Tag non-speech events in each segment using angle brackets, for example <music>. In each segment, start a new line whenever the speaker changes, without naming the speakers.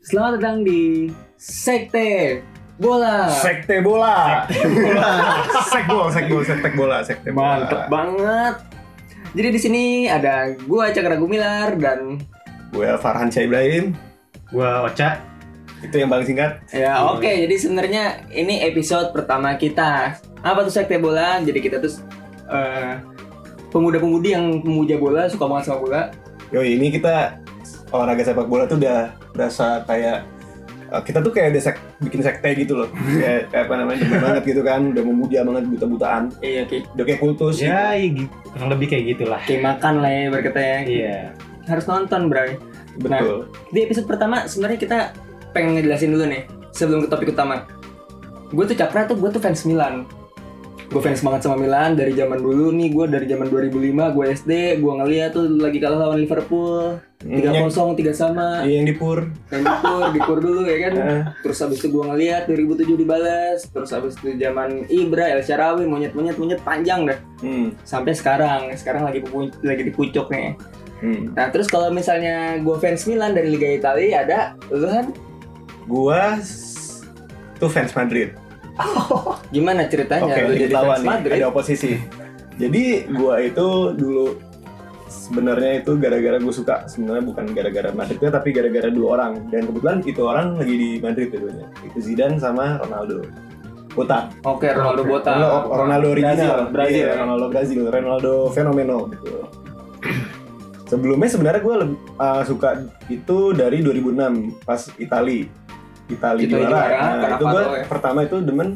Selamat datang di Sekte Bola.
Sekte bola. <laughs> Sek bola, sek bola, sekte bola, sekte bola.
Mantep banget. Jadi di sini ada gua Cakra Gumilar dan
Gue Farhan Syah Ibrahim.
Gua Ocha.
Itu yang paling singkat.
ya oke. Jadi sebenarnya ini episode pertama kita. Apa tuh Sekte Bola? Jadi kita tuh eh, pemuda-pemudi yang memuja bola, suka banget sama bola.
Yo, ini kita olahraga sepak bola tuh udah berasa kayak eh, kita tuh kayak udah sek- bikin sekte gitu loh. kayak kayak apa namanya? demen banget gitu kan, udah memuja banget buta-butaan.
Iya, oke.
Udah kayak kultus.
Ya, iya gitu. kurang lebih kayak gitulah.
Oke, makan lah ya berkata ya.
Iya.
Harus nonton, Bray.
gitu. Betul.
Di episode pertama sebenarnya kita pengen ngejelasin dulu nih sebelum ke topik utama. Gue tuh Cakra tuh gue tuh fans Milan. Gue fans banget sama Milan dari zaman dulu nih gue dari zaman 2005 gue SD gue ngeliat tuh lagi kalah lawan Liverpool tiga
Hmm, yang,
kosong tiga sama
yang di pur.
dan dipur dipur dulu ya kan
Eh,
terus abis itu gue ngeliat 2007 dibalas terus abis itu zaman Ibra El Sharawi monyet monyet monyet panjang dah
hmm,
sampai sekarang sekarang lagi pupu- lagi di pucuk nih
hmm.
nah terus kalau misalnya gue fans Milan dari Liga Italia ada lu kan
Gua s- tuh fans Madrid.
Gimana ceritanya
Oke,
lu
ini
jadi fans
lawan nih,
Madrid?
ada oposisi. Jadi gua itu dulu sebenarnya itu gara-gara gue suka sebenarnya bukan gara-gara Madridnya tapi gara-gara dua orang dan kebetulan itu orang lagi di Madrid dulunya itu Zidane sama Ronaldo Botak
Oke, Ronaldo Bota.
Ronaldo, Ronaldo original
Brazil, Brazil.
Iya, Ronaldo Brazil Ronaldo fenomeno gitu <clears throat> sebelumnya sebenarnya gue suka itu dari 2006 pas Itali Itali
Italia
juara
juara,
Nah, itu
Cannavaro
gue
ya.
pertama itu demen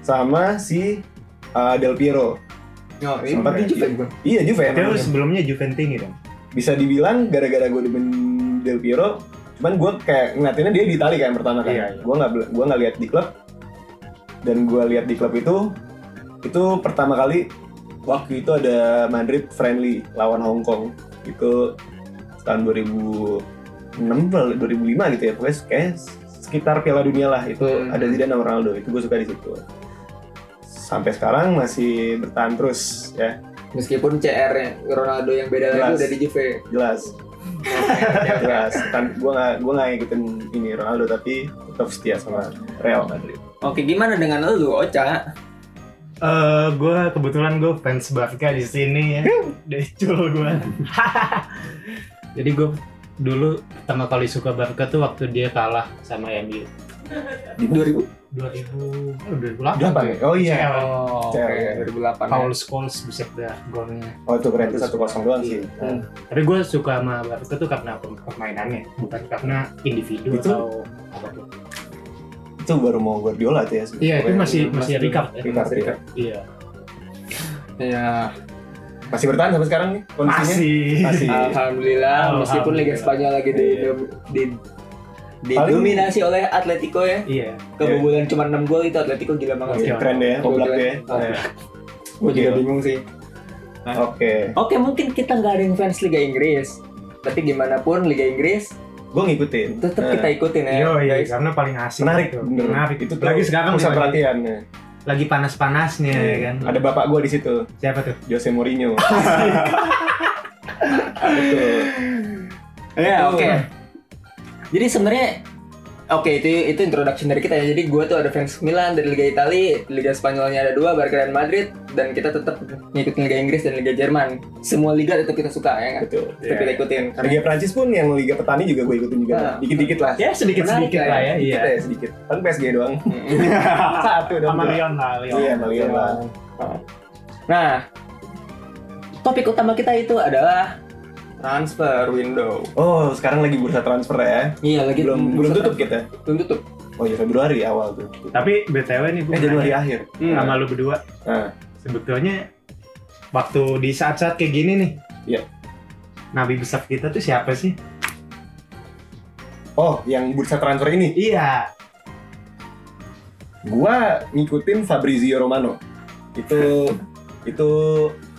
sama si uh, Del Piero
No, ini
Sempat
berarti
di
Juve gua.
Iya Juve.
Tapi lu
emang.
sebelumnya Juventini dong.
Bisa dibilang gara-gara gue demen Del Piero, cuman gue kayak ngeliatinnya dia di Itali kayak yang pertama kan.
Iya, iya.
Gue nggak bel- gue nggak lihat di klub dan gue lihat di klub itu itu pertama kali waktu itu ada Madrid friendly lawan Hong Kong itu tahun 2006 atau 2005 gitu ya pokoknya kayak sekitar Piala Dunia lah itu
Hmm.
ada Zidane sama Ronaldo itu gue suka di situ sampai sekarang masih bertahan terus ya
Meskipun CR -nya Ronaldo yang beda lagi
Jelas.
udah di Juve.
<laughs>
jelas jelas kan gue nggak gue nggak ngikutin ini Ronaldo tapi tetap setia sama Real Madrid
Oke, gimana dengan lu, Ocha?
Eh, gua kebetulan gua fans Barca di sini ya. Decul gua. <laughs> Jadi gua dulu pertama kali suka Barca tuh waktu dia kalah sama MU.
di
2000?
2000 eh, 2008.
berapa ya oh iya
CL.
Oh,
CR,
oke,
ya.
2008.
Paul Scholes buset dah golnya. Nah,
oh itu keren itu satu kosong doang sih
Iya.
Nah,
Hmm.
Tapi gua suka sama Barca tuh karena pem- permainannya, bukan karena individu
Itu-
atau apapun.
itu baru mau Guardiola tuh ya sebenarnya.
Iya, itu
Pokoknya
masih
Mas
masih Ricard ya.
Ricard, Ricard.
Iya.
Iya.
Ya,
masih bertahan sampai sekarang nih kondisinya
Masih. Iya.
Masih.
alhamdulillah meskipun Liga
Alhamdulillah.
Spanyol lagi di
Iya.
di
Paling-
didominasi oleh Atletico ya.
Iya.
Kebobolan cuma 6 gol itu Atletico gila banget sih.
Oke.
keren deh ya oblak deh ya.
Iya.
Oblak.
Nah,
Gue juga
Gokil.
bingung sih.
oke
Oke, mungkin kita nggak ada yang fans Liga Inggris. Tapi gimana pun Liga Inggris
gue ngikutin
tetap
Nah,
kita ikutin ya.
Yo, iya,
guys.
karena paling asik.
menarik
gitu.
bener.
Menarik.
itu tuh
lagi sekarang
pusat
nih, lagi,
perhatian
lagi panas-panasnya ya kan.
ada bapak gue di situ
Siapa tuh?
Jose
<laughs>
Mourinho Betul.
Ya,
Betul.
oke.
Iya.
Jadi sebenarnya oke itu itu introduction dari kita ya. Jadi gue tuh ada fans Milan dari Liga Italia, Liga Spanyolnya ada dua, Barca dan Madrid, dan kita tetap ngikutin Liga Inggris dan Liga Jerman. Semua liga tetap kita suka ya kan.
betul
Tetap
Iya.
kita ikutin. Karena
Liga Prancis pun yang Liga Petani juga gue ikutin juga.
Nah.
Dikit-dikit lah.
Ya, sedikit-sedikit
Menarik
lah ya. Iya.
Dikit ya sedikit. Kan PSG doang.
<laughs>
Satu doang.
Sama Leon lah, Leon.
Iya, sama Lyon lah.
Nah, topik utama kita itu adalah transfer window.
Oh, sekarang lagi bursa transfer ya.
Iya lagi
Belum belum tutup kita.
Belum tutup.
Oh iya Februari awal tuh.
Tapi Hmm. BTW nih gue
Eh Januari akhir.
sama lu berdua.
Nah,
Sebetulnya waktu di saat-saat kayak gini nih.
Iya.
Nabi besar kita tuh siapa sih?
oh, yang bursa transfer ini
Iya.
gua ngikutin Fabrizio Romano. Itu itu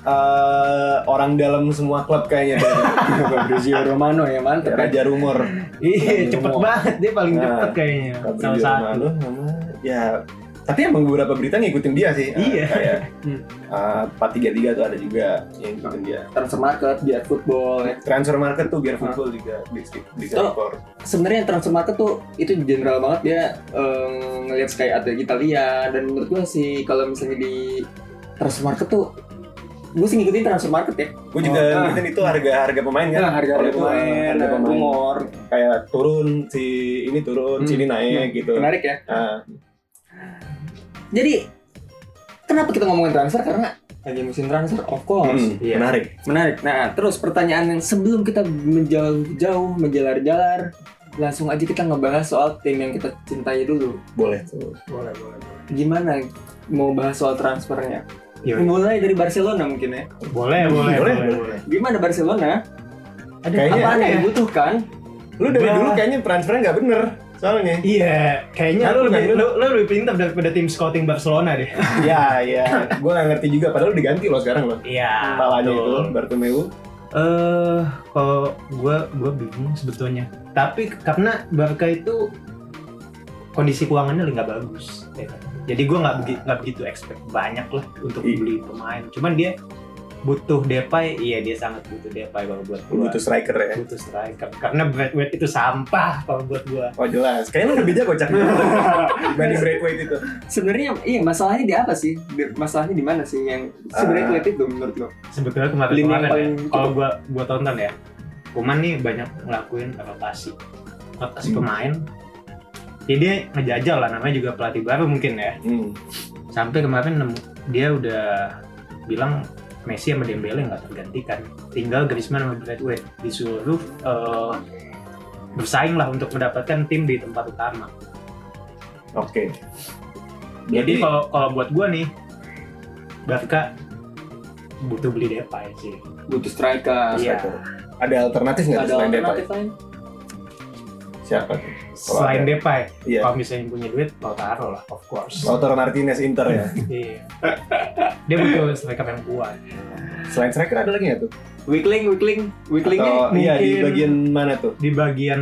eh, orang dalam semua klub kayaknya <laughs> Fabrizio Romano.
Romano ya mantep. ya.
Raja rumor.
Iya, cepet
Romo.
banget dia paling
Nah,
cepet kayaknya. Sama
Fabrizio
satu.
Romano sama ya tapi emang beberapa berita ngikutin dia sih Eh,
Iya.
kayak
<laughs>
eh,
Hmm.
empat tiga tiga tuh ada juga yang ngikutin dia
transfer market biar football ya.
transfer market tuh biar football juga bisa bisa
Oh.
impor.
sebenarnya transfer market tuh itu general banget dia eh, ngelihat kayak ada Italia dan menurut gua sih kalau misalnya di transfer market tuh gue sih ngikutin transfer market ya
gue juga
Oh, ah.
ngikutin itu harga harga pemain kan
Nah, harga
Kalau
harga
itu,
pemain, Nah,
harga
harga
pemain.
rumor
kayak turun si ini turun
Hmm.
sini naik gitu
menarik ya
Nah,
jadi kenapa kita ngomongin transfer karena lagi musim transfer of course
hmm,
iya.
menarik
Menarik. Nah, terus pertanyaan yang sebelum kita menjauh-jauh, menjalar-jalar, langsung aja kita ngebahas soal tim yang kita cintai dulu.
boleh tuh
Boleh, boleh, boleh.
Gimana mau bahas soal transfernya?
Iya.
Mulai dari Barcelona mungkin ya.
Boleh, boleh,
Boleh,
boleh,
boleh.
boleh.
Gimana Barcelona?
Ada
Kayaknya-
Apa
apaan ya?
yang dibutuhkan?
lu dari
Bah.
dulu kayaknya transfernya nggak bener
<laughs>
soalnya
Iya,
Nah,
kayaknya lu
lu
lebih,
kan,
lu, lu lebih pintar daripada tim scouting Barcelona deh.
ya ya gue nggak ngerti juga padahal diganti loh sekarang loh
Iya.
kepalanya
betul.
itu Bartomeu
Eh, kalau gua gua bingung sebetulnya. Tapi karena Barca itu kondisi keuangannya nggak bagus, ya kan? jadi gua nggak begi- nggak begitu expect banyak lah untuk
Iya.
beli pemain. Cuman dia butuh Depay, iya dia sangat butuh Depay kalau buat gua.
butuh striker ya
butuh striker karena Bradway itu sampah kalau buat gua.
Oh jelas, kayaknya lu lebih jago cak
gitu.
<laughs> dibanding Braithwaite itu.
Sebenarnya iya masalahnya di apa sih? Di- Masalahnya di mana sih yang
Ah.
sebenarnya kulit itu menurut lo?
Sebetulnya kemarin
Lini
kemarin ya,
paling cukup.
kalau gua gua tonton ya, Kuman nih banyak ngelakuin rotasi rotasi
Hmm.
pemain. Jadi dia ngejajal lah namanya juga pelatih baru mungkin ya.
Hmm.
Sampai kemarin nemu- dia udah bilang Messi sama Dembele nggak tergantikan. Tinggal Griezmann sama Bradway disuruh eh, bersaing lah untuk mendapatkan tim di tempat utama.
Oke.
Jadi
Jadi,
kalau kalau buat gua nih, Barca butuh beli Depay sih.
Butuh Ah, striker.
Iya.
striker. ada alternatif nggak tuh
Ada
selain Iya, Depay?
alternatif lain?
Siapa? tuh? Kalau
Selain
ada.
Depay,
Iya. Oh.
kalau misalnya punya duit, Lautaro lah, of course.
Lautaro Martinez Inter ya.
Iya. Dia butuh striker yang kuat.
Selain striker ada lagi nggak tuh?
Weakling, weakling, weaklingnya
Atau iya di
mungkin-
bagian mana tuh?
Di bagian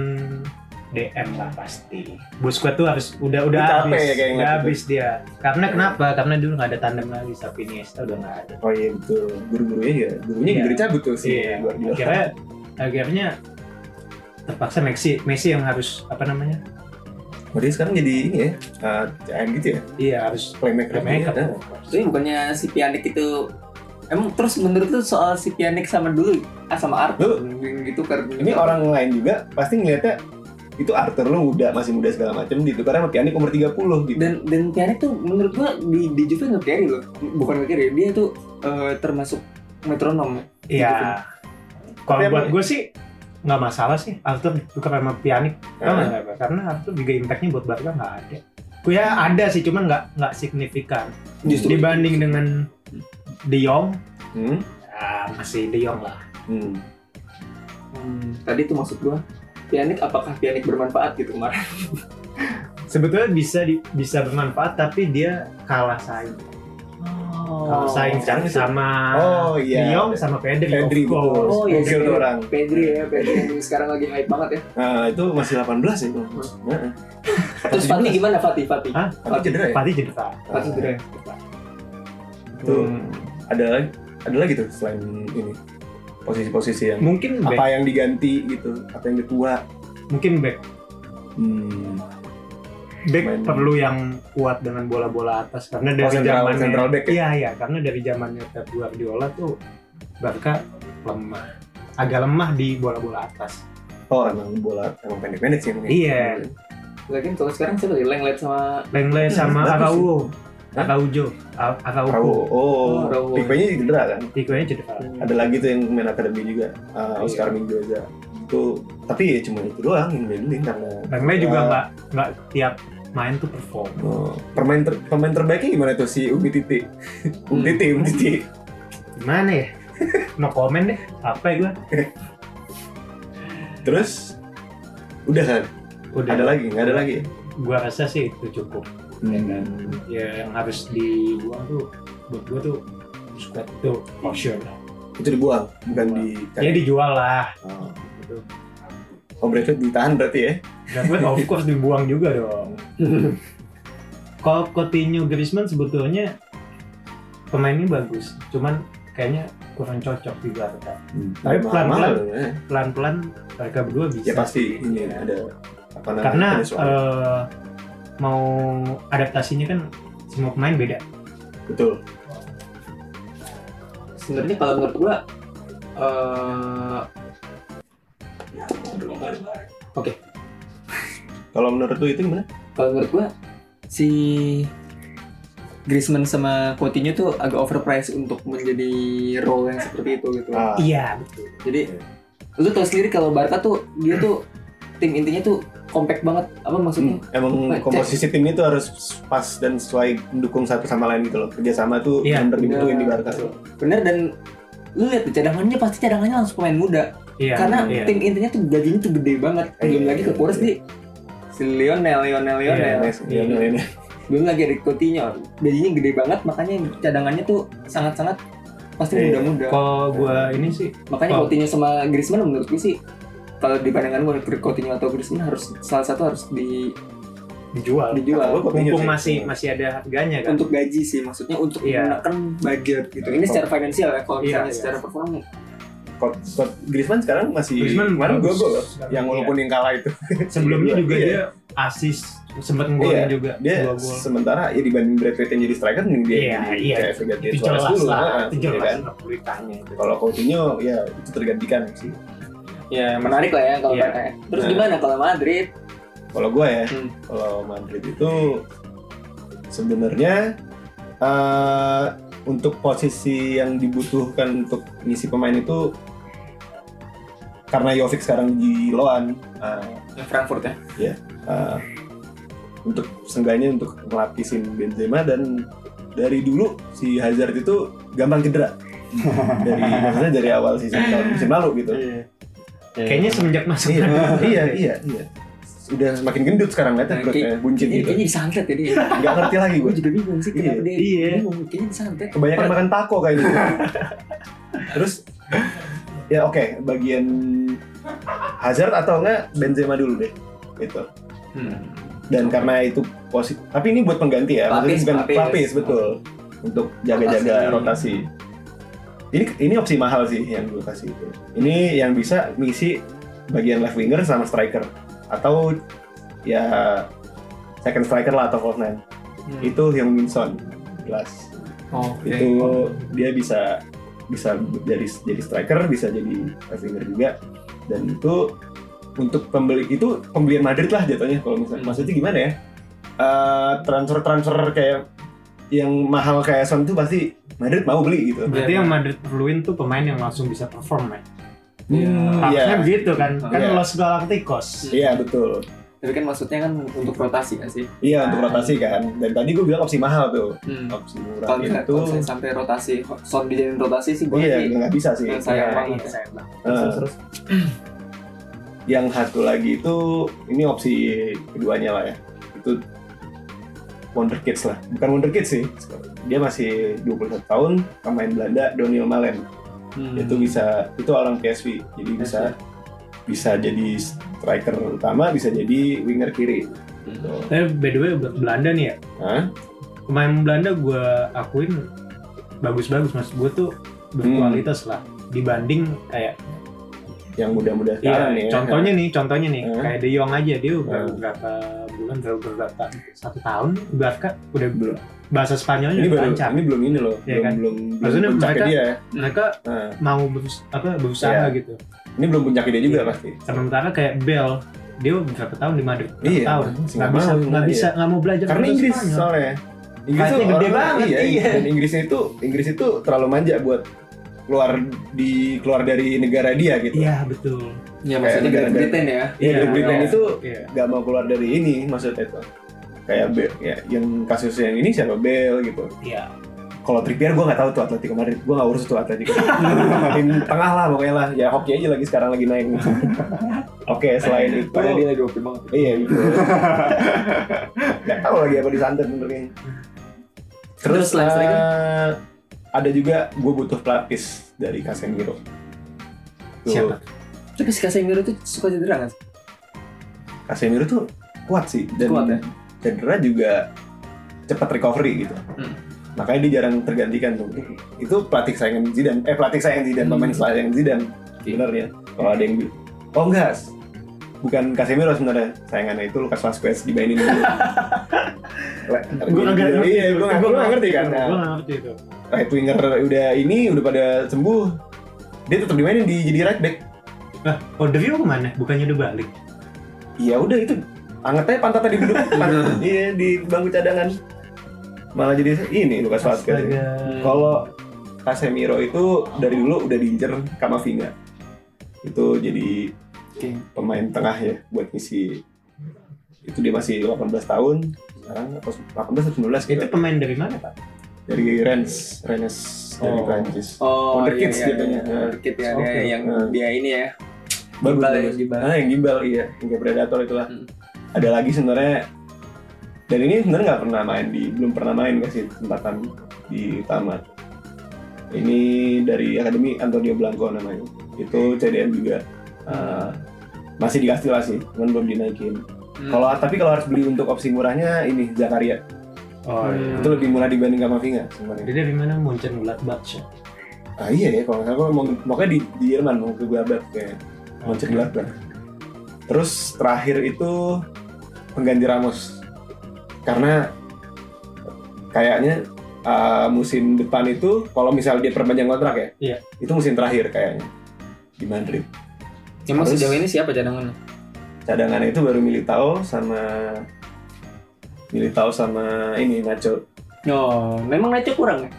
DM lah pasti. Busquets tuh harus udah udah
Dia capek
habis,
ya kayak
udah
ngeliat
habis dia. Karena
Iya.
kenapa? Karena dulu nggak ada tandem lagi, tapi Iniesta udah nggak ada.
Oh iya betul. Guru-gurunya ya. Gurunya
Iya.
diberi cabut tuh si
Iya.
Guardiola.
Akhirnya, akhirnya terpaksa Messi, Messi yang harus apa namanya?
Oh, dia sekarang jadi ini ya. eh, CM gitu ya.
Iya harus
Playmaker.
playmaker.
Ya.
of course.
Tapi bukannya si Pianik itu Emang terus menurut lu soal si Pianik sama dulu ah sama Arthur gitu kan
Ini orang lain juga pasti ngeliatnya itu Arthur lu muda masih muda segala macam gitu karena Pianik umur 30 gitu.
dan dan Pianik tuh menurut gua di di Juve nggak carry loh bukan nggak carry dia tuh eh, termasuk metronom
Iya. Kalau
Tapi
buat
emang-
gue sih nggak masalah sih Arthur bukan sama pianik Tau
Nah,
nggak, Pak? karena Arthur juga impactnya buat Barca nggak ada. Ya ada sih, cuman nggak nggak signifikan
justru
dibanding dengan De Jong.
Hmm.
Ya, masih De Jong lah.
Hmm.
Hmm, tadi tuh maksud gua Pianik apakah Pianik bermanfaat gitu kemarin
Sebetulnya bisa di- bisa bermanfaat, tapi dia kalah saing. Kalah saing
sekarang itu-
sama
Oh iya.
Ah, De Jong sama Pedri.
Pedri,
of course.
betul.
Oh iya
Gokil tuh orang.
Pedri ya Pedri yang sekarang lagi hype banget ya
Nah, itu masih 18 ya, Bang. Heeh.
terus Fatih gimana Fatih Fatih
Hah?
Tapi cedera ya?
Pasti jadi tak.
Fatih cedera ya?
Itu ada lagi ada lagi tuh selain ini. Posisi-posisi yang
Mungkin
apa
back,
yang diganti gitu, apa yang ditua.
mungkin back
Hmm.
back
Main-
perlu yang kuat dengan bola-bola atas karena dari
Oh, central-
zamannya
central back ya?
iya iya karena dari zamannya Pep Guardiola tuh Barca lemah agak lemah di bola-bola atas
Oh, emang bola emang pendek-pendek sih emang. ya.
Iya.
Lagian kalau sekarang siapa sih Lenglet sama
Lenglet
Hmm,
sama
bagus
Araujo
Hah?
Araujo A-
Rawo.
Araujo
Oh,
Oh, Hmm. Rawo.
Pipe-nya cedera kan.
Tikonya cedera
Ada lagi tuh yang main akademi juga, uh, Oscar Mendoza. Itu tapi ya cuma itu doang yang main karena
Lenglet juga
Ah.
nggak nggak tiap main tuh perform
Oh, pemain ter- pemain terbaiknya gimana tuh si Umi
<laughs>
Titi? Umi Titi, Umi Titi.
gimana
<laughs>
ya no comment deh apa ya gue
Terus udah kan?
udah
Ada lagi? Nggak ada lagi? ya?
gua rasa sih itu cukup
Hmm.
ya yang harus dibuang tuh buat gua tuh Busquets tuh for sure lah.
Itu dibuang, bukan di.
Dibuang. Ya dijual lah.
Oh,
Gitu.
oh Bradford ditahan berarti ya?
Dan gue of course dibuang juga dong. Kalau Coutinho Griezmann sebetulnya pemainnya bagus, cuman kayaknya kurang cocok di Barca. <laughs> Tapi pelan-pelan,
Mahal, ya.
pelan-pelan mereka berdua bisa.
ya pasti ini ada apa namanya
Karena
ada soal.
eh, mau adaptasinya kan semua pemain beda.
betul
Hmm, sebenarnya kalau menurut gua eh
kalau menurut lu itu gimana
kalau menurut gua si Griezmann sama Coutinho tuh agak overpriced untuk menjadi role yang seperti itu gitu.
ah,
Iya, betul.
Jadi
Iya.
lu tau sendiri kalau Barca tuh dia tuh tim intinya tuh compact banget apa maksudnya?
emang
Iya.
Cek.
komposisi tim itu harus pas dan sesuai mendukung satu sama lain gitu loh kerjasama tuh
Iya.
bener dibutuhin di Barca
Bener dan lu lihat tuh cadangannya pasti cadangannya langsung pemain muda
Iya.
Ya,
karena
iya.
tim intinya tuh gajinya tuh gede banget
Iya,
belum
iya,
lagi
iya,
kekuras
iya.
di si Lionel Lionel Lionel
Iya, iya, iya, iya.
belum lagi ada Coutinho gajinya gede banget makanya cadangannya tuh sangat-sangat pasti
Iya.
muda-muda
Kalau gua ini sih
makanya
Oh.
Coutinho sama Griezmann menurut gue sih kalau di pandangan gue Coutinho atau Griezmann harus salah satu harus di,
Kata
dijual.
gua
dijual
Coutinho
Mumpung
sih. Iya.
masih masih ada harganya kan.
untuk gaji sih maksudnya untuk
Iya.
menekan budget gitu ini secara finansial ya kalau
Iya,
misalnya
iya.
secara performa
Kot- Kot- Griezmann sekarang masih
Griezmann
kemarin
bagus.
gol-gol. yang
Iya.
walaupun yang kalah itu
Sebelumnya juga
Iya.
dia asis sempat ngegolin
Iya,
juga
dia
dua gol.
sementara ya dibanding Brad Pitt yang jadi striker mending dia
Iya,
jadi
iya.
kayak pergantian
itu
Suarez
jelas
dulu, nah,
lah, itu
ya
jelas
kan?
lah beritanya itu.
kalau Coutinho ya itu tergantikan sih
ya menarik lah ya kalau
Iya.
Barca ya. terus
Nah.
gimana kalau Madrid
kalau gue ya
Hmm.
kalau Madrid itu sebenarnya eh, untuk posisi yang dibutuhkan untuk ngisi pemain itu karena Jovic sekarang di Loan eh,
Frankfurt ya
Uh, untuk seenggaknya untuk ngelapisin Benzema dan dari dulu si Hazard itu gampang cedera dari maksudnya dari awal season tahun musim lalu gitu
Kayaknya semenjak masuk
iya
Madrid.
iya iya iya udah semakin gendut sekarang
Nah,
lihatnya perutnya buncit
Ini
gitu
kayaknya disantet jadi
nggak ngerti lagi
gue
gue
juga bingung sih kenapa
Iya.
dia
Iya.
bingung kayaknya disantet
kebanyakan makan taco kayak gitu terus ya oke bagian Hazard atau enggak Benzema dulu deh gitu
Hmm.
dan karena itu posisi tapi ini buat pengganti ya maksudnya
Pelapis,
bukan
pelapis.
pelapis, betul untuk jaga-jaga rotasi. ini ini opsi mahal sih yang gue kasih itu ini yang bisa mengisi bagian left winger sama striker atau ya second striker lah atau false nine
Gitu.
Hmm.
itu yang Minson jelas
Oke.
itu dia bisa bisa jadi jadi striker bisa jadi left winger juga dan itu untuk pembeli itu pembelian Madrid lah jatuhnya kalau misalnya
Hmm.
maksudnya gimana ya transfer transfer kayak yang mahal kayak Son itu pasti Madrid mau beli gitu
Berarti yang Madrid perluin tuh pemain yang langsung bisa perform ya.
Hmm,
iya
Harusnya begitu kan. Kan
Iya.
Los Galacticos.
iya betul
Tapi kan maksudnya kan untuk rotasi kan sih.
iya untuk rotasi kan dan tadi gue bilang opsi mahal tuh
Hmm.
opsi murah
Kalau misalnya-
itu
kalau misalnya sampai rotasi, sound dijadiin rotasi sih gue
iya nggak bisa sih
Yang sayang
Iya,
banget.
iya, sayang banget.
Nah, yang satu lagi itu ini opsi keduanya lah ya itu Wonder Kids lah bukan Wonder Kids sih dia masih 21 tahun pemain Belanda Doniel Malen
Hmm.
Hmm.
itu bisa itu orang PSV jadi bisa bisa jadi striker utama bisa jadi winger kiri gitu.
Tapi by the way Belanda nih ya.
Hah?
Pemain Belanda gue akuin bagus-bagus mas. Gue tuh berkualitas
Hmm.
lah dibanding kayak
yang muda-muda
Iya,
sekarang nih ya.
contohnya nih, contohnya nih,
Hmm.
kayak De Jong aja dia udah
Hmm.
berapa bulan, baru berapa satu tahun, Barca udah
Belum.
bahasa Spanyolnya
ini
udah
baru
lancar.
ini belum Hmm. ini loh
Iya
belum
kan?
belum belum
Maksudnya
puncaknya
mereka-
dia ya.
Mereka
Nah,
mau berus- apa
Iya.
berusaha gitu.
ini belum puncaknya dia juga
Iya.
pasti
Sementara kayak Bell, dia berapa tahun di Madrid? Berapa
Iya,
tahun.
masih
Nggak
nggak
bisa,
mau,
nggak
iya.
bisa, nggak mau belajar
karena
bahasa
Inggris
Spanyol.
soalnya Inggris
Fightnya gede
orang-
banget,
iya,
iya.
dan Inggrisnya itu Inggris itu terlalu manja buat keluar di keluar dari negara dia gitu
Iya betul.
ya
kayak
maksudnya
negara-
Great Britain ya.
Iya, Great Britain
iya.
itu
Iya.
gak mau keluar dari ini maksudnya itu kayak Bale, ya, yang kasus yang ini siapa Bel gitu
Iya.
kalau Trippier gue nggak tahu tuh Atletico Madrid gue nggak urus tuh <laughs> Atletico makin tengah lah pokoknya lah ya hoki aja lagi sekarang lagi naik <laughs> oke selain itu
Padahal dia lagi oke banget.
iya gitu <laughs> nggak tahu lagi apa disantet sebenarnya
Terus
terus
selain striker?
eh, ada juga gue butuh pelapis dari Casemiro Tuh,
Siapa?
Tapi si Casemiro tuh suka cedera kan?
Casemiro tuh kuat sih dan
Kuat ya?
cedera juga cepat recovery gitu.
Hmm.
Makanya dia jarang tergantikan tuh. Itu pelatih saingan Zidane. Eh pelatih saingan Zidane, pemain saingan Zidane.
Oke.
Sebenarnya kalau ada yang bi- Oh enggak. Bukan Casemiro sebenarnya. Sayangannya itu Lucas Vazquez dibandingin dulu.
Gue agak ngerti.
Iya, gue nggak- gue nggak ngerti kan. Nah,
Gue nggak ngerti itu.
right winger udah ini udah pada sembuh. Dia tetap dimainin di jadi right back.
Lah, Odrio Oh, kemana? Bukannya udah balik?
Iya udah itu anget aja pantat tadi duduk Pan- iya di bangku cadangan malah jadi ini Lukas Vazquez kalau Casemiro itu dari dulu udah diincer Kamavinga itu jadi
Oke.
pemain tengah ya buat ngisi itu dia masih 18 tahun sekarang atau 18 atau 19
Itu
gitu
pemain dari mana pak?
dari Rennes Rennes dari
Oh.
Prancis
Oh,
Wonder
iya,
Kids
iya,
jatuhnya.
iya, Wonder Kids ya,
Oke.
dia yang
Hmm.
dia ini ya.
bagus
Gimbal ya,
bagus
Gimbal.
ah yang gimbal iya yang kayak predator itulah
Hmm.
ada lagi sebenarnya dan ini sebenarnya nggak pernah main di belum pernah main kasih kesempatan di tamat ini dari akademi Antonio Blanco namanya itu CDM juga Eh, masih dikasih lah sih cuman belum dinaikin
Hmm.
kalau tapi kalau harus beli untuk opsi murahnya ini Zakaria
Oh iya.
Hmm.
itu lebih murah dibanding Kamavinga sebenarnya
Dia dari mana? Munchen Gladbach ya?
ah iya ya kalau nggak salah mau makanya di, di Jerman mau ke Gladbach kayak Munchen Gladbach. Terus terakhir itu pengganti Ramos karena kayaknya uh, musim depan itu kalau misalnya dia perpanjang kontrak ya,
Iya.
itu musim terakhir kayaknya di Madrid.
Emang
Harus-
sejauh ini siapa cadangannya?
Cadangannya itu baru Militao sama Militao sama ini Nacho.
Oh, memang Nacho kurang ya?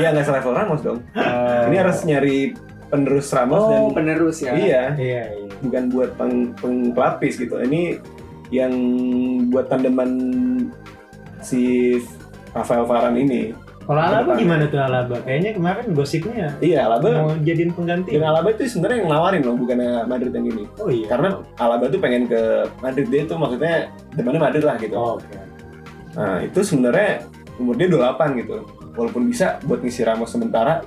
Iya nggak selevel Ramos dong. Ini harus nyari penerus Ramos dan
Oh, penerus ya.
iya
Iya iya.
bukan buat peng, peng- pelapis gitu. Ini yang buat tandeman si Rafael Varane ini.
Kalau Alaba gimana tuh Alaba? Kayaknya kemarin gosipnya
Iya, Alaba.
mau jadiin pengganti.
Dan Alaba itu sebenarnya yang nawarin loh, bukan Madrid yang ini.
Oh iya.
Karena Alaba tuh pengen ke Madrid dia tuh maksudnya depannya Madrid lah gitu.
Oh, Oke.
Nah, itu sebenarnya umur dia 28 gitu. Walaupun bisa buat ngisi Ramos sementara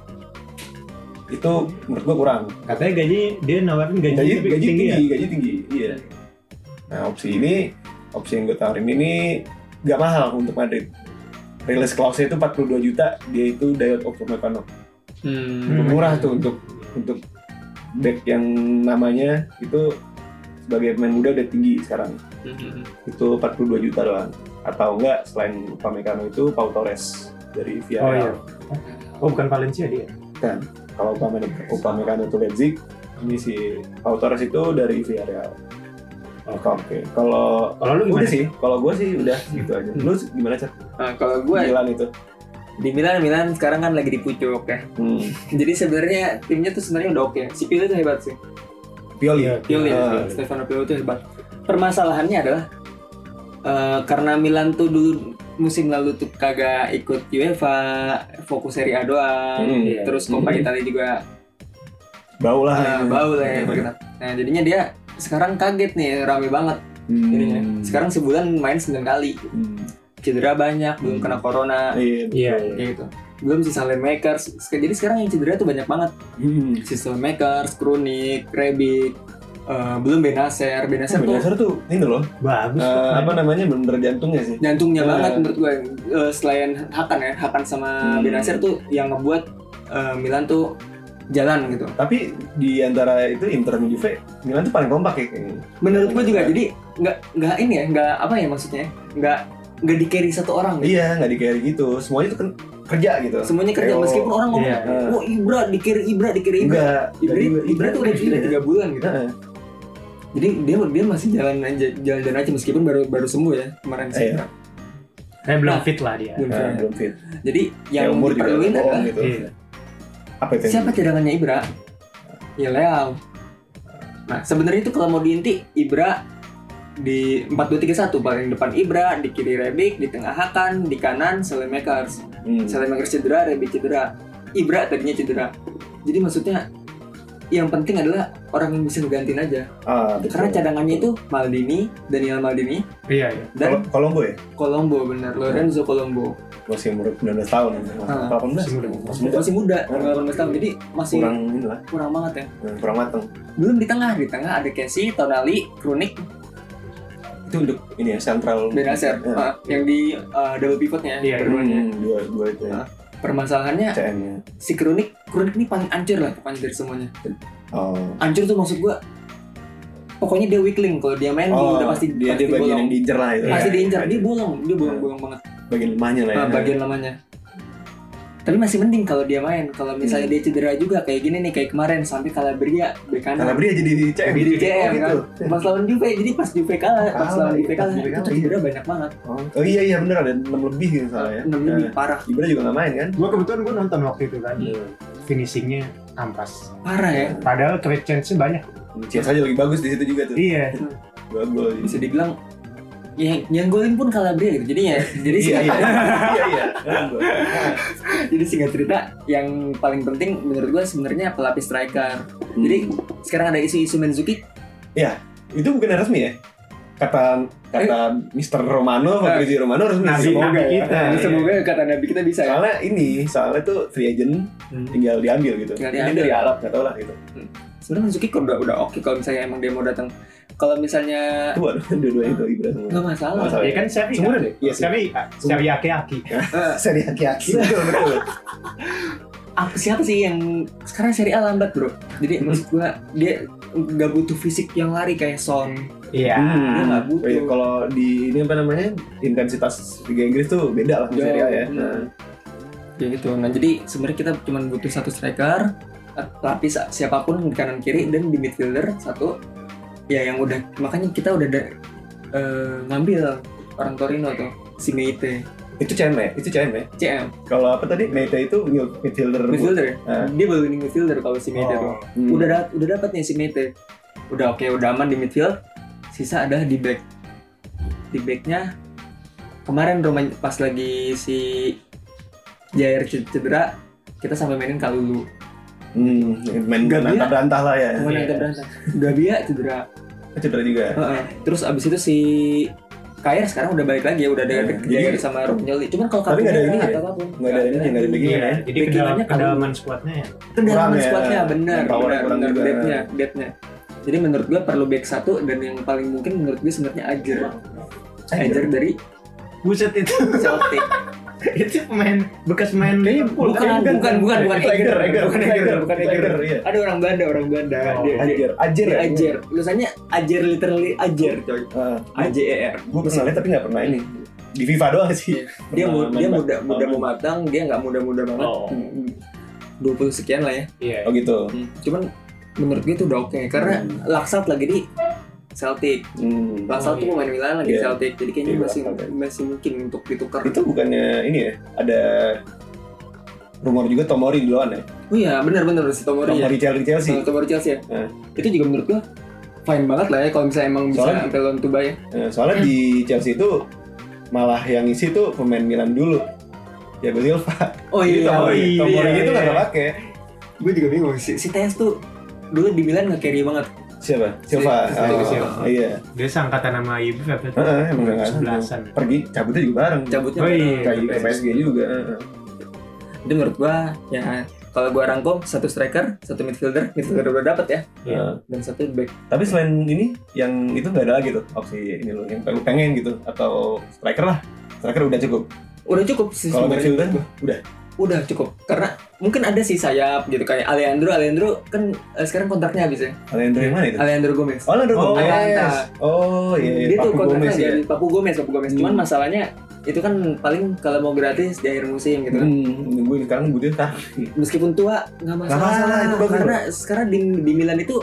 itu menurut gua kurang.
Katanya gaji dia nawarin gaji,
gaji,
lebih
gaji
tinggi
tinggi,
ya.
gaji tinggi iya nah opsi ini opsi yang gue tawarin ini nggak mahal untuk Madrid release clause itu 42 juta dia itu Dayot Upamecano
Hmm.
murah tuh untuk untuk back yang namanya itu sebagai pemain muda udah tinggi sekarang
Hmm.
itu 42 juta doang atau enggak selain Upamecano itu Pau Torres dari
Oh iya.
Villarreal
hmm.
Oh bukan Valencia dia.
kan kalau Upamecano, Upamecano itu Leipzig ini si Pau Torres itu dari Villarreal
Oke.
oke kalau
Kalau lu gimana?
Udah sih, kalau gue sih udah gitu aja. Lu gimana cak?
Nah, kalau gue
Milan itu.
di Milan, Milan sekarang kan lagi dipucuk ya. <laughs>
Hmm.
Jadi sebenarnya timnya tuh sebenarnya udah oke. Si Pioli itu hebat sih.
Pioli.
Iya,
Pioli, ya,
Ah.
Stefano Pioli itu hebat. Permasalahannya adalah eh, karena Milan tuh dulu musim lalu tuh kagak ikut UEFA, fokus Serie A doang.
Hmm.
Iya.
Terus Coppa
Hmm.
Italia juga
Bau lah.
eh, bau
iya,
lah ya. gitu. Nah, jadinya dia sekarang kaget nih, rame banget
Hmm.
jadinya. ya. Sekarang sebulan main 9 kali.
Hmm.
Cedera banyak, belum
Hmm.
kena corona
Iya.
Iya. iya.
kayak gitu. Belum sisa Makers. Jadi sekarang yang cedera tuh banyak banget.
Hmm.
System Makers, Kronik, Rebic, eh, belum Benacer. Benacer tuh
Dasar tuh ini loh.
Bagus. kok.
eh, apa namanya? Bener-bener jantungnya sih.
jantungnya
Nah.
banget menurut gue. Eh, selain Hakan ya, Hakan sama
Hmm.
Benacer tuh yang ngebuat eh, Milan tuh jalan gitu.
Tapi di antara itu Inter sama Juve, Milan tuh paling kompak ya kayaknya.
Menurut gue
Iya.
juga jadi nggak nggak ini ya, nggak apa ya maksudnya, nggak nggak di carry satu orang. Gitu.
Iya, nggak di carry gitu. Semuanya tuh kan kerja gitu.
Semuanya kerja
Kayak,
meskipun orang ngomong,
Iya.
Eh,
oh Ibra di carry, Ibra di carry, Ibra.
enggak.
Ibra, Ibra
Ibra-
tuh udah
Ibra
cedera tiga bulan gitu.
Heeh.
Jadi dia dia masih jalan aja jalan, jalan aja meskipun baru baru sembuh ya kemarin sih.
Iya.
Kayak belum
Nah.
fit lah dia.
Belum
Nah,
fit.
belum fit.
Jadi
Ya,
Iya. yang
umur juga
diperluin
bohong
adalah
gitu.
Iya.
Apa itu? yang-
siapa cadangannya Ibra? Ya Leao. Nah, sebenarnya itu kalau mau diinti Ibra di 4-2-3-1 paling depan Ibra, di kiri Rebic, di tengah Hakan, di kanan Selemakers.
Hmm.
Selemakers cedera, Rebic cedera. Ibra tadinya cedera. Jadi maksudnya yang penting adalah orang yang bisa ngegantiin aja.
Ah, betul.
Karena cadangannya itu Maldini, Daniel Maldini,
Iya iya.
dan
Kalau gue ya,
Colombo benar, Lorenzo Colombo.
masih umur 19 tahun
Ah,
18
masih muda.
masih muda
Masih muda,
Hmm.
18 tahun. Jadi masih
kurang ini lah
kurang banget ya.
kurang mateng
belum di tengah di tengah ada Casey Tonali Kronik
itu untuk ini ya sentral
Benacer
Ya.
ah, yang di uh, double pivotnya
Iya,
keduanya.
Hmm, dua dua itu ya.
Ah. Permasalahannya
CM nya
si Kronik Kronik ini paling ancur lah pokoknya dari semuanya.
oh
Ancur tuh maksud gua pokoknya dia weak link kalau dia main dia
Oh,
udah pasti
dia,
pasti
dia bagian
bolong.
yang diincer lah itu.
pasti
Ya,
diincar
ya.
dia bolong dia bolong-bolong banget
bagian lemahnya lah ya.
ah, bagian lamanya. Tapi masih mending kalau dia main. Kalau misalnya dia cedera juga kayak gini nih kayak kemarin sampai Calabria bek kanan.
Calabria jadi CM.
Jadi CM,
oh, gitu.
Pas lawan Juve, jadi pas Juve kalah, pas
Kalah,
lawan
iya,
Juve
pas
kalah,
Juve
itu
kalah,
cedera banyak banget.
Oh, oh iya iya bener ada 6 lebih gitu soalnya.
kan? Enam lebih parah,
Ibra juga nggak main kan?
Gue kebetulan gue nonton waktu itu kan.
Iya.
Finishingnya ampas.
parah ya.
Padahal trade chance-nya banyak.
Cias aja lagi bagus di situ juga tuh.
Iya.
Dua gol.
Bisa dibilang ya, yang golin pun Calabria gitu. Jadi ya, jadi
Iya
singkat,
iya <laughs> iya iya. Dua gol.
<laughs> Nah, jadi singkat cerita, yang paling penting menurut gua sebenarnya pelapis striker.
Hmm.
Jadi sekarang ada isu-isu Manzuki.
itu bukan resmi ya? Kata
Eh.
kata Mr. Romano, Fabrizio Romano resmi
Nabi-
semoga
nabi
ya.
kita.
Nah,
Nah,
iya.
semoga kata Nabi kita bisa ya.
Soalnya ini, soalnya tuh free agent tinggal diambil gitu.
Tinggal
Ini
diambil.
dari Arab nggak tau lah gitu.
Sebenarnya Manzuki kok udah udah oke kalau misalnya emang dia mau datang. Kalau misalnya
Tua <laughs> dua-dua itu Ibra semua.
nggak masalah.
Masalah.
Ya kan Seri.
Sumur deh.
Iya, Seri. Seri aki-aki.
Eh,
Seri aki-aki. Betul <laughs> betul.
apa siapa sih yang sekarang seri A lambat bro jadi maksud gua dia nggak butuh fisik yang lari kayak Son
Iya.
Ya, dia nggak butuh.
Iya, kalau di ini apa namanya intensitas Liga Inggris tuh beda lah sama
Jauh,
Serie A ya.
hmm.
Nah,
ya gitu nah jadi sebenarnya kita cuma butuh satu striker lapis siapapun di kanan kiri dan di midfielder satu ya yang udah makanya kita udah ada, eh, ngambil orang Torino tuh si Meite
itu CM ya, itu CM ya.
CM
Kalau apa tadi Mete itu mid- midfielder.
midfielder ya?
Ah.
dia baru winning midfielder kalau si Meite tuh
Oh.
Hmm.
udah dat- udah dapat nih si Mete udah oke udah aman di midfield sisa ada di back di backnya kemarin Roman pas lagi si Jair ce- cedera kita sampai mainin Kalulu
Hmm, main
Nggak
bantah bantah lah ya.
kemarin kita berantem Gabia cedera
Cedera juga.
Heeh. terus abis itu si Kair sekarang udah balik lagi ya udah ada
Iya,
Jair
jadi-
sama Romagnoli cuman kalau
Tapi nggak ada
kartunya
ini ya?
atau apapun
Nggak ada ini, nggak ada begini ya.
Iya, jadi
Backing
kedalaman,
aja kalau-
kedalaman squadnya ya.
pendalaman
Kurang ya.
squadnya benar
Manpower
benar
kurang
benar
juga.
depthnya depthnya jadi menurut gua perlu back satu dan yang paling mungkin menurut gue sebenarnya Ajer Ajer dari
Buset itu,
Celtic
itu pemain bekas pemain Liverpool.
bukan,
kan?
bukan, bukan, bukan, bukan,
Egger, Egger,
bukan, Egger, bukan, Egger.
iya.
ada orang Belanda orang Belanda dia,
Oh,
dia,
Ajer, Ajer
dia
ya.
ajer tulisannya ajer literally ajer coy A J E R
Gue pernah lihat tapi nggak pernah ini. Di FIFA doang sih.
dia
Pernah
mu-
main
dia
bak-
muda muda
main.
mau matang dia nggak muda muda banget Hmm,
Oh.
dua puluh sekian lah ya
Iya.
Oh gitu.
cuman menurut gue itu udah oke karena
Hmm.
Laksat lagi di Celtic
Hmm.
Laksat
Oh,
tuh
iya.
pemain Milan lagi di
Iya.
Celtic jadi kayaknya
Iya,
masih
Laksat.
masih mungkin untuk ditukar
itu bukannya ini ya ada rumor juga Tomori duluan ya
oh iya benar benar si Tomori ya
Tomori Chelsea Chelsea
Nah, Tomori Chelsea ya
Nah.
itu juga menurut gue fine banget lah ya kalau misalnya emang bisa
Soalnya-
sampai lawan Tuba ya
Nah, soalnya di Chelsea itu malah yang isi tuh pemain Milan dulu ya Silva
Oh
Jadi
iya,
Tomori
iya,
Tomori
iya,
itu nggak
iya.
kepake
gue juga bingung. Si, si Tess tuh dulu di Milan nge-carry banget.
siapa Silva
Si-
Oh,
Silva.
iya
Dia seangkatan sama Ibu apa tuh?
Heeh, emang nggak ngasih.
Sebelasan.
pergi cabutnya juga bareng
Cabutnya
Oh
bareng
iya,
kayak gitu,
sama
juga
PSG.
PSG juga heeh.
Jadi menurut gue, ya kalau gue rangkum satu striker, satu midfielder, midfielder udah dapet ya,
Iya.
Nah,
dan satu back.
tapi selain ini yang itu nggak ada lagi tuh opsi ini loh yang lu pengen gitu atau striker lah striker udah cukup
Udah cukup sih
kalau
sebenarnya.
midfielder udah
Udah cukup. Karena mungkin ada sih sayap gitu kayak Alejandro, Alejandro kan eh, sekarang kontraknya habis ya.
Alejandro yang mana itu
Alejandro Gomez.
Oh, Leandro
Oh,
Gomez.
Atalanta.
Oh, iya, iya.
Dia tuh
Papu
kontraknya
Gomez ya.
dari Papu Gomez, Papu Gomez. Cuman
Hmm.
masalahnya itu kan paling kalau mau gratis di akhir musim gitu kan.
Hmm, nungguin sekarang butuh kan.
meskipun tua nggak masalah,
Nggak masalah, itu bagus.
karena sekarang di, di Milan itu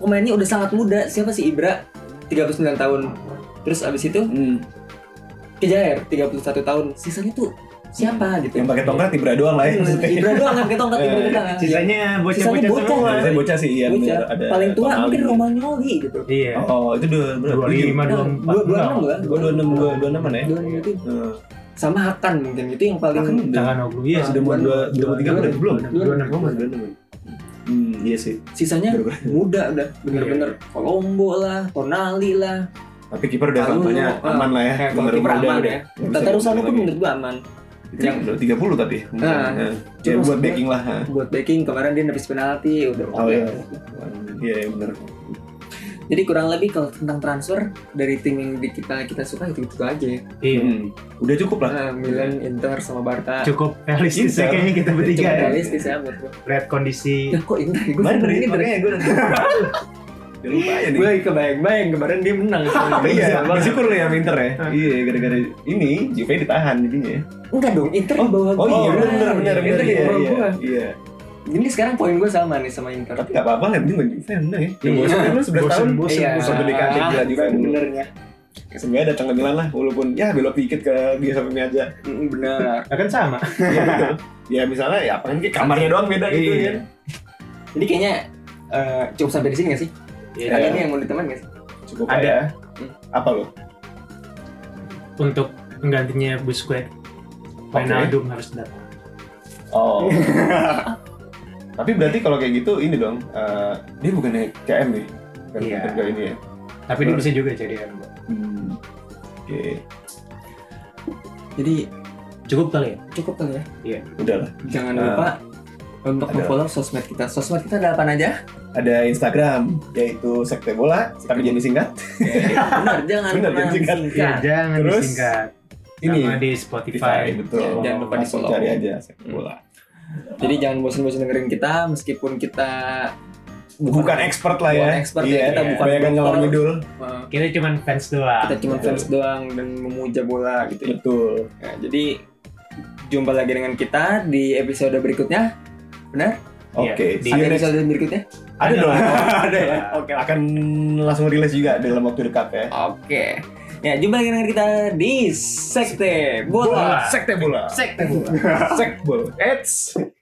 pemainnya udah sangat muda siapa sih Ibra 39 tahun terus abis itu
Hmm.
ke Jair 31 tahun sisanya tuh siapa gitu
Hmm, Yang pakai tongkat Ibra doang lah ya
Hmm,
maksudnya.
Ibra doang kan ketongkat Ibra
<laughs> Eh,
doang
Sisanya bocah-bocah
Sisanya bocah.
semua.
Nah, Biasanya bocah sih iya
Bocah.
bener ada.
paling tua
Tonali.
mungkin Romagnoli gitu
Iya.
Oh, itu dua
Dua
berapa?
lima, dua empat.
dua dua enam lah
Dua dua enam dua dua enam ya.
Dua enam itu.
Heeh.
sama Hakan mungkin itu yang
Bahkan
paling
udah
Jangan Oglu ya.
sudah mau dua sudah mau tiga
dua-
bulan belum?
dua-
Dua enam.
Oh, masih dua enam. ya? Hmm, iya sih.
sisanya
Baru- baru.
muda udah
Iya,
bener-bener Colombo lah Tonali lah
Tapi kiper udah
Lalu,
tampaknya
eh,
aman lah ya.
eh, kalau kiper
muda
aman
udah.
ya
Nggak bisa
Tata Rusano
dibilang
pun
lagi.
menurut gua aman
Yang udah 30 tapi.
Nah,
Heeh. Ya
terus
buat
gua-
backing lah. ha.
buat backing kemarin dia nepis penalti udah oke
Oh, iya. Iya, iya, bener.
Jadi kurang lebih kalau tentang transfer dari tim yang di- kita kita suka itu itu aja. ya.
Iya.
Hmm. Udah cukup lah.
Nah, Milan, Inter sama Barca.
Cukup realistis
Inter.
ya kayaknya kita bertiga
Cukup
ya.
realistis ya menurut gue.
Lihat kondisi
Ya kok Inter? Gue
Madrid,
Inter.
Iya. makanya gue <laughs> nanti. Udah lupa ya nih.
Gue kebayang-bayang kemarin dia
<laughs>
menang.
Iya, bersyukur lu ya sama Inter ya.
Hah.
Iya, gara-gara ini Juve ditahan jadinya. ya.
Enggak dong, Inter di bawah
Oh
gua.
iya, benar benar benar.
Inter di
Iya,
bawah
iya.
gua.
Iya.
Jadi sekarang poin gue sama nih sama Inter.
Tapi nggak apa-apa lah, yang penting buat Juve yang menang ya. Ya
Iya.
bosan kan lu 11 tahun.
bosen-bosen.
Iya.
bosen gede kaki, gila juga.
Benernya.
Sebenarnya datang ke Milan lah, walaupun ya belok dikit ke dia sampai <laughs> aja.
Mm, Bener.
Akan Nah, kan sama.
Iya betul. Ya misalnya ya apaan sih kamarnya doang beda gitu
Iya.
ya.
Jadi kayaknya eh, cukup sampai di sini nggak sih?
Iya.
Ada nih yang mau ditemani nggak sih?
Cukup
Ada.
ada. Apa lo?
Untuk penggantinya Busquets, Wijnaldum harus datang.
Oh. Tapi berarti kalau kayak gitu ini dong, eh, dia bukannya KM nih. Bukan
Iya.
bukan ini ya.
Tapi dia bisa juga jadi Aaron Boone.
Hmm. Oke,
Jadi
Cukup kali ya?
cukup kali ya.
udah lah.
Jangan
Eh,
lupa untuk
ada.
memfollow sosmed kita. Sosmed kita ada apa aja?
<laughs> Ada Instagram yaitu Sekte Bola, tapi jangan disingkat.
Benar, jangan
Benar,
pernah
jangan singkat.
Iya,
singkat.
jangan
Terus,
disingkat.
ini.
Sama di
Spotify,
Spotify.
betul.
Jangan lupa
Langsung
di-follow.
Cari aja Sekte Bola.
Jadi jangan bosan-bosan dengerin kita meskipun kita
Bukan expert lah ya.
Bukan expert ya, kita bukan
Banyak yang
dokter.
ngalor ngidul.
eh,
Kita cuman fans doang.
kita cuma
Betul.
fans doang dan memuja bola gitu ya.
Betul.
Nah, jadi jumpa lagi dengan kita di episode berikutnya.
Iya,
Oke,
di-
see you
Ada
next.
episode berikutnya?
Ada dong. <laughs> Ada ya.
Ada.
Oke, akan langsung rilis juga dalam waktu dekat ya.
Oke. Ya, jumpa lagi dengan kita di Sekte Bola.
Sekte Bola.
Sekte bola.
Sekte Bola. It's